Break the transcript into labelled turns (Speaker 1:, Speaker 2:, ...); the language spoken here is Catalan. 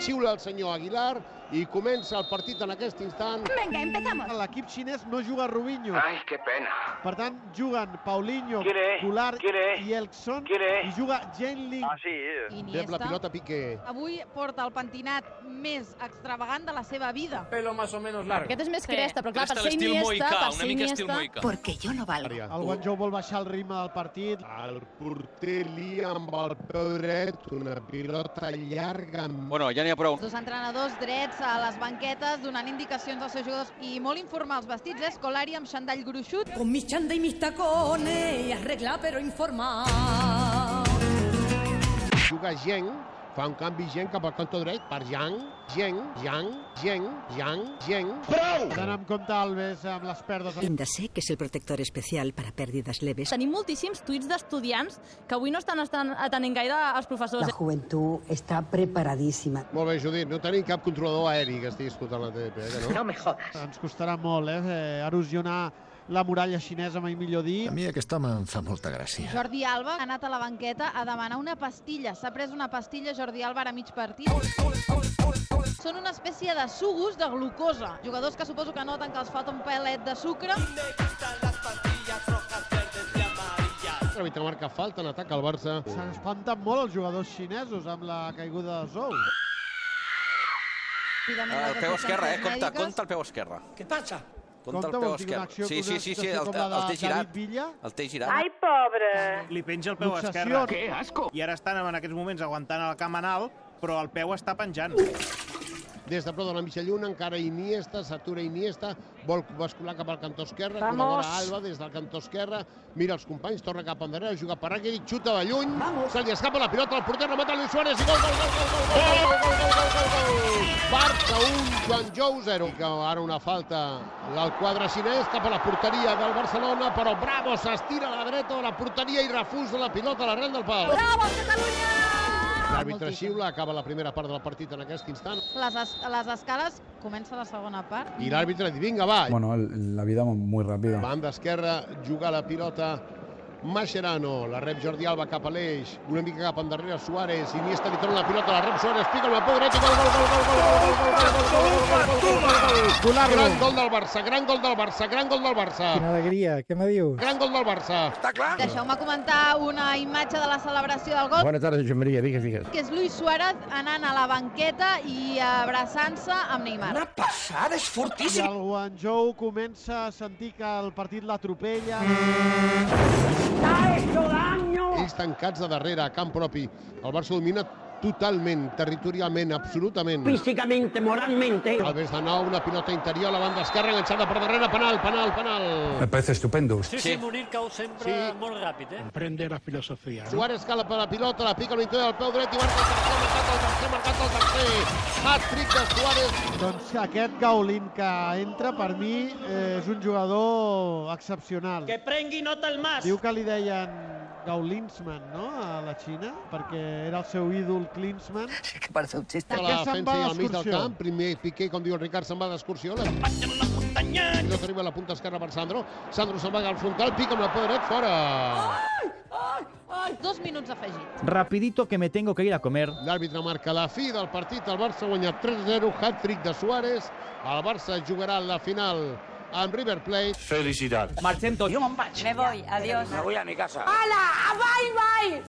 Speaker 1: xiula el senyor Aguilar i comença el partit en aquest instant.
Speaker 2: Venga, empezamos.
Speaker 3: L'equip xinès no juga a Robinho.
Speaker 4: Ay, qué pena.
Speaker 3: Per tant, juguen Paulinho,
Speaker 4: Quiere,
Speaker 3: Goulart
Speaker 4: quiere,
Speaker 3: i Elkson
Speaker 4: quiere.
Speaker 3: i juga Jane Link.
Speaker 4: Así es.
Speaker 1: Rep la pilota Piqué.
Speaker 5: Avui porta el pentinat més extravagant de la seva vida.
Speaker 6: Pelo más o menos largo.
Speaker 7: Aquest és més cresta, però clar,
Speaker 8: Cresta
Speaker 7: per
Speaker 8: a
Speaker 7: ser
Speaker 8: l'estil
Speaker 7: Iniesta,
Speaker 8: Moicà,
Speaker 7: per
Speaker 8: una
Speaker 7: ser
Speaker 8: mica estil
Speaker 7: Iniesta...
Speaker 8: Moicà.
Speaker 2: Porque yo no valgo.
Speaker 1: Àrea.
Speaker 3: El Guangzhou vol baixar el ritme del partit.
Speaker 1: El porter lia amb el peu dret una pilota llarga amb
Speaker 9: Bueno, ja n'hi ha prou.
Speaker 5: Els dos entrenadors drets a les banquetes donant indicacions als seus jugadors i molt informals vestits, eh? Escolari amb xandall gruixut.
Speaker 7: Con mi chanda y mis tacones, arregla pero informal.
Speaker 1: juga Geng, fa un canvi Geng cap al cantó dret per Yang, Geng, Yang, Geng, Yang, Geng.
Speaker 3: Has d'anar amb compte, Alves, amb les pèrdues.
Speaker 2: Indasec que es el protector especial para pérdidas leves.
Speaker 7: Tenim moltíssims tuits d'estudiants que avui no estan estan atenent gaire els professors.
Speaker 2: La juventud está preparadísima.
Speaker 1: Molt bé, Judit, no tenim cap controlador aeri que estigui escoltant la TDP, eh, que no?
Speaker 2: me jodas.
Speaker 3: Ens costarà molt, eh, eh, erosionar la muralla xinesa, mai millor dir.
Speaker 10: mi aquest home em fa molta gràcia.
Speaker 5: Jordi Alba ha anat a la banqueta a demanar una pastilla. S'ha pres una pastilla Jordi Alba ara a mig partit. Són una espècie de sugus de glucosa. Jugadors que suposo que noten que els falta un pelet de sucre.
Speaker 1: L'àrbitre marca falta en atac al Barça.
Speaker 3: S'han espantat molt els jugadors xinesos amb la caiguda dels ous.
Speaker 9: El peu esquerre, eh? Compte, compte el peu esquerre.
Speaker 6: ¿Qué pasa?
Speaker 9: Compte el
Speaker 3: vols
Speaker 9: peu
Speaker 3: dir una
Speaker 9: esquerre.
Speaker 3: acció-
Speaker 9: Sí, sí,
Speaker 3: una
Speaker 9: sí, sí
Speaker 3: situació
Speaker 9: el,
Speaker 3: com la
Speaker 9: el,
Speaker 3: de
Speaker 9: el té
Speaker 3: David
Speaker 9: girat.
Speaker 3: Villa?
Speaker 9: El té girat.
Speaker 6: pobre! Li penja el peu
Speaker 3: L'obsessió.
Speaker 6: esquerre. Que asco! I ara estan en aquests moments aguantant el camp anal, però el peu està penjant.
Speaker 1: Des de prou de la mitja lluna, encara Iniesta, s'atura Iniesta, vol bascular cap al cantó esquerre, col·labora Alba des del cantó esquerre, mira els companys, torna cap endarrere, juga per Aguirre, xuta de lluny, se li escapa la pilota, el porter remata Luis Suárez i gol, gol, gol, gol, gol, gol, gol, gol, gol, gol, gol, gol, gol, Barça 1, Guangzhou 0. Que ara una falta del quadre xinès cap a la porteria del Barcelona, però Bravo s'estira a la dreta de la porteria i refusa la pilota a l'arrel del pal.
Speaker 5: Bravo, Catalunya!
Speaker 1: L'àrbitre xiula, acaba la primera part del partit en aquest instant.
Speaker 5: Les, es les escales comença la segona part.
Speaker 1: I l'àrbitre diu, vinga, va,
Speaker 10: Bueno, la vida muy rápida.
Speaker 1: Banda esquerra, juga la pilota Mascherano, la rep Jordi Alba cap a l'eix, una mica cap endarrere Suárez, Iniesta li torna la pilota, la rep Suárez, fica amb la peu dreta, gol, gol, gol, gol, gol, gol, gol, gol, gol, gol, gol, gol, gol, gran gol del Barça, gran gol del Barça, gran gol del Barça,
Speaker 10: alegria, què me diu?
Speaker 1: gran gol del Barça.
Speaker 5: Deixeu-me comentar una imatge de la celebració del gol.
Speaker 10: Bona tarda, Joan Maria, digues, digues.
Speaker 5: que és Luis Suárez anant a la banqueta i abraçant-se amb Neymar.
Speaker 4: pasada, es
Speaker 3: I
Speaker 4: fortísimo.
Speaker 3: el Guangzhou comença a sentir que el partit l'atropella.
Speaker 1: Ells tancats de darrere, a camp propi. El Barça domina totalment, territorialment, absolutament. Físicamente, moralmente. Alves de nou, una pilota interior, la banda esquerra, enganxada per darrere, penal, penal, penal.
Speaker 10: parece estupendo.
Speaker 6: Sí,
Speaker 9: sí,
Speaker 6: Munir cau sempre
Speaker 1: Sí.
Speaker 6: molt ràpid, eh?
Speaker 1: Suárez cala per la pilota, la pica a l'interior del peu dret i marca el tercer, marcat el tercer, marcat el tercer. Hat-trick de Suárez.
Speaker 3: Doncs aquest Gaulín que entra, per mi, eh, és un jugador excepcional.
Speaker 6: Que prengui nota el mas!
Speaker 3: Diu que li deien Gaulinsman, no?, a la Xina, perquè era el seu ídol Klinsman.
Speaker 1: A la
Speaker 3: Per què se'n
Speaker 1: defensa
Speaker 3: va
Speaker 1: i al mig del
Speaker 3: d'excursió?
Speaker 1: camp. Primer Piqué, com diu el Ricard, se'n va d'excursió. La pilota arriba a la punta esquerra per Sandro. Sandro se'n va al frontal, pica amb la peu dret, fora.
Speaker 5: Dos minuts afegits.
Speaker 8: Rapidito que me tengo que ir a comer.
Speaker 1: L'àrbitre marca la fi del partit, el Barça guanya 3-0, hat-trick de Suárez, el Barça jugarà la final amb River Plate.
Speaker 8: Marchento.
Speaker 7: Me voy, adiós.
Speaker 4: Me voy a mi casa.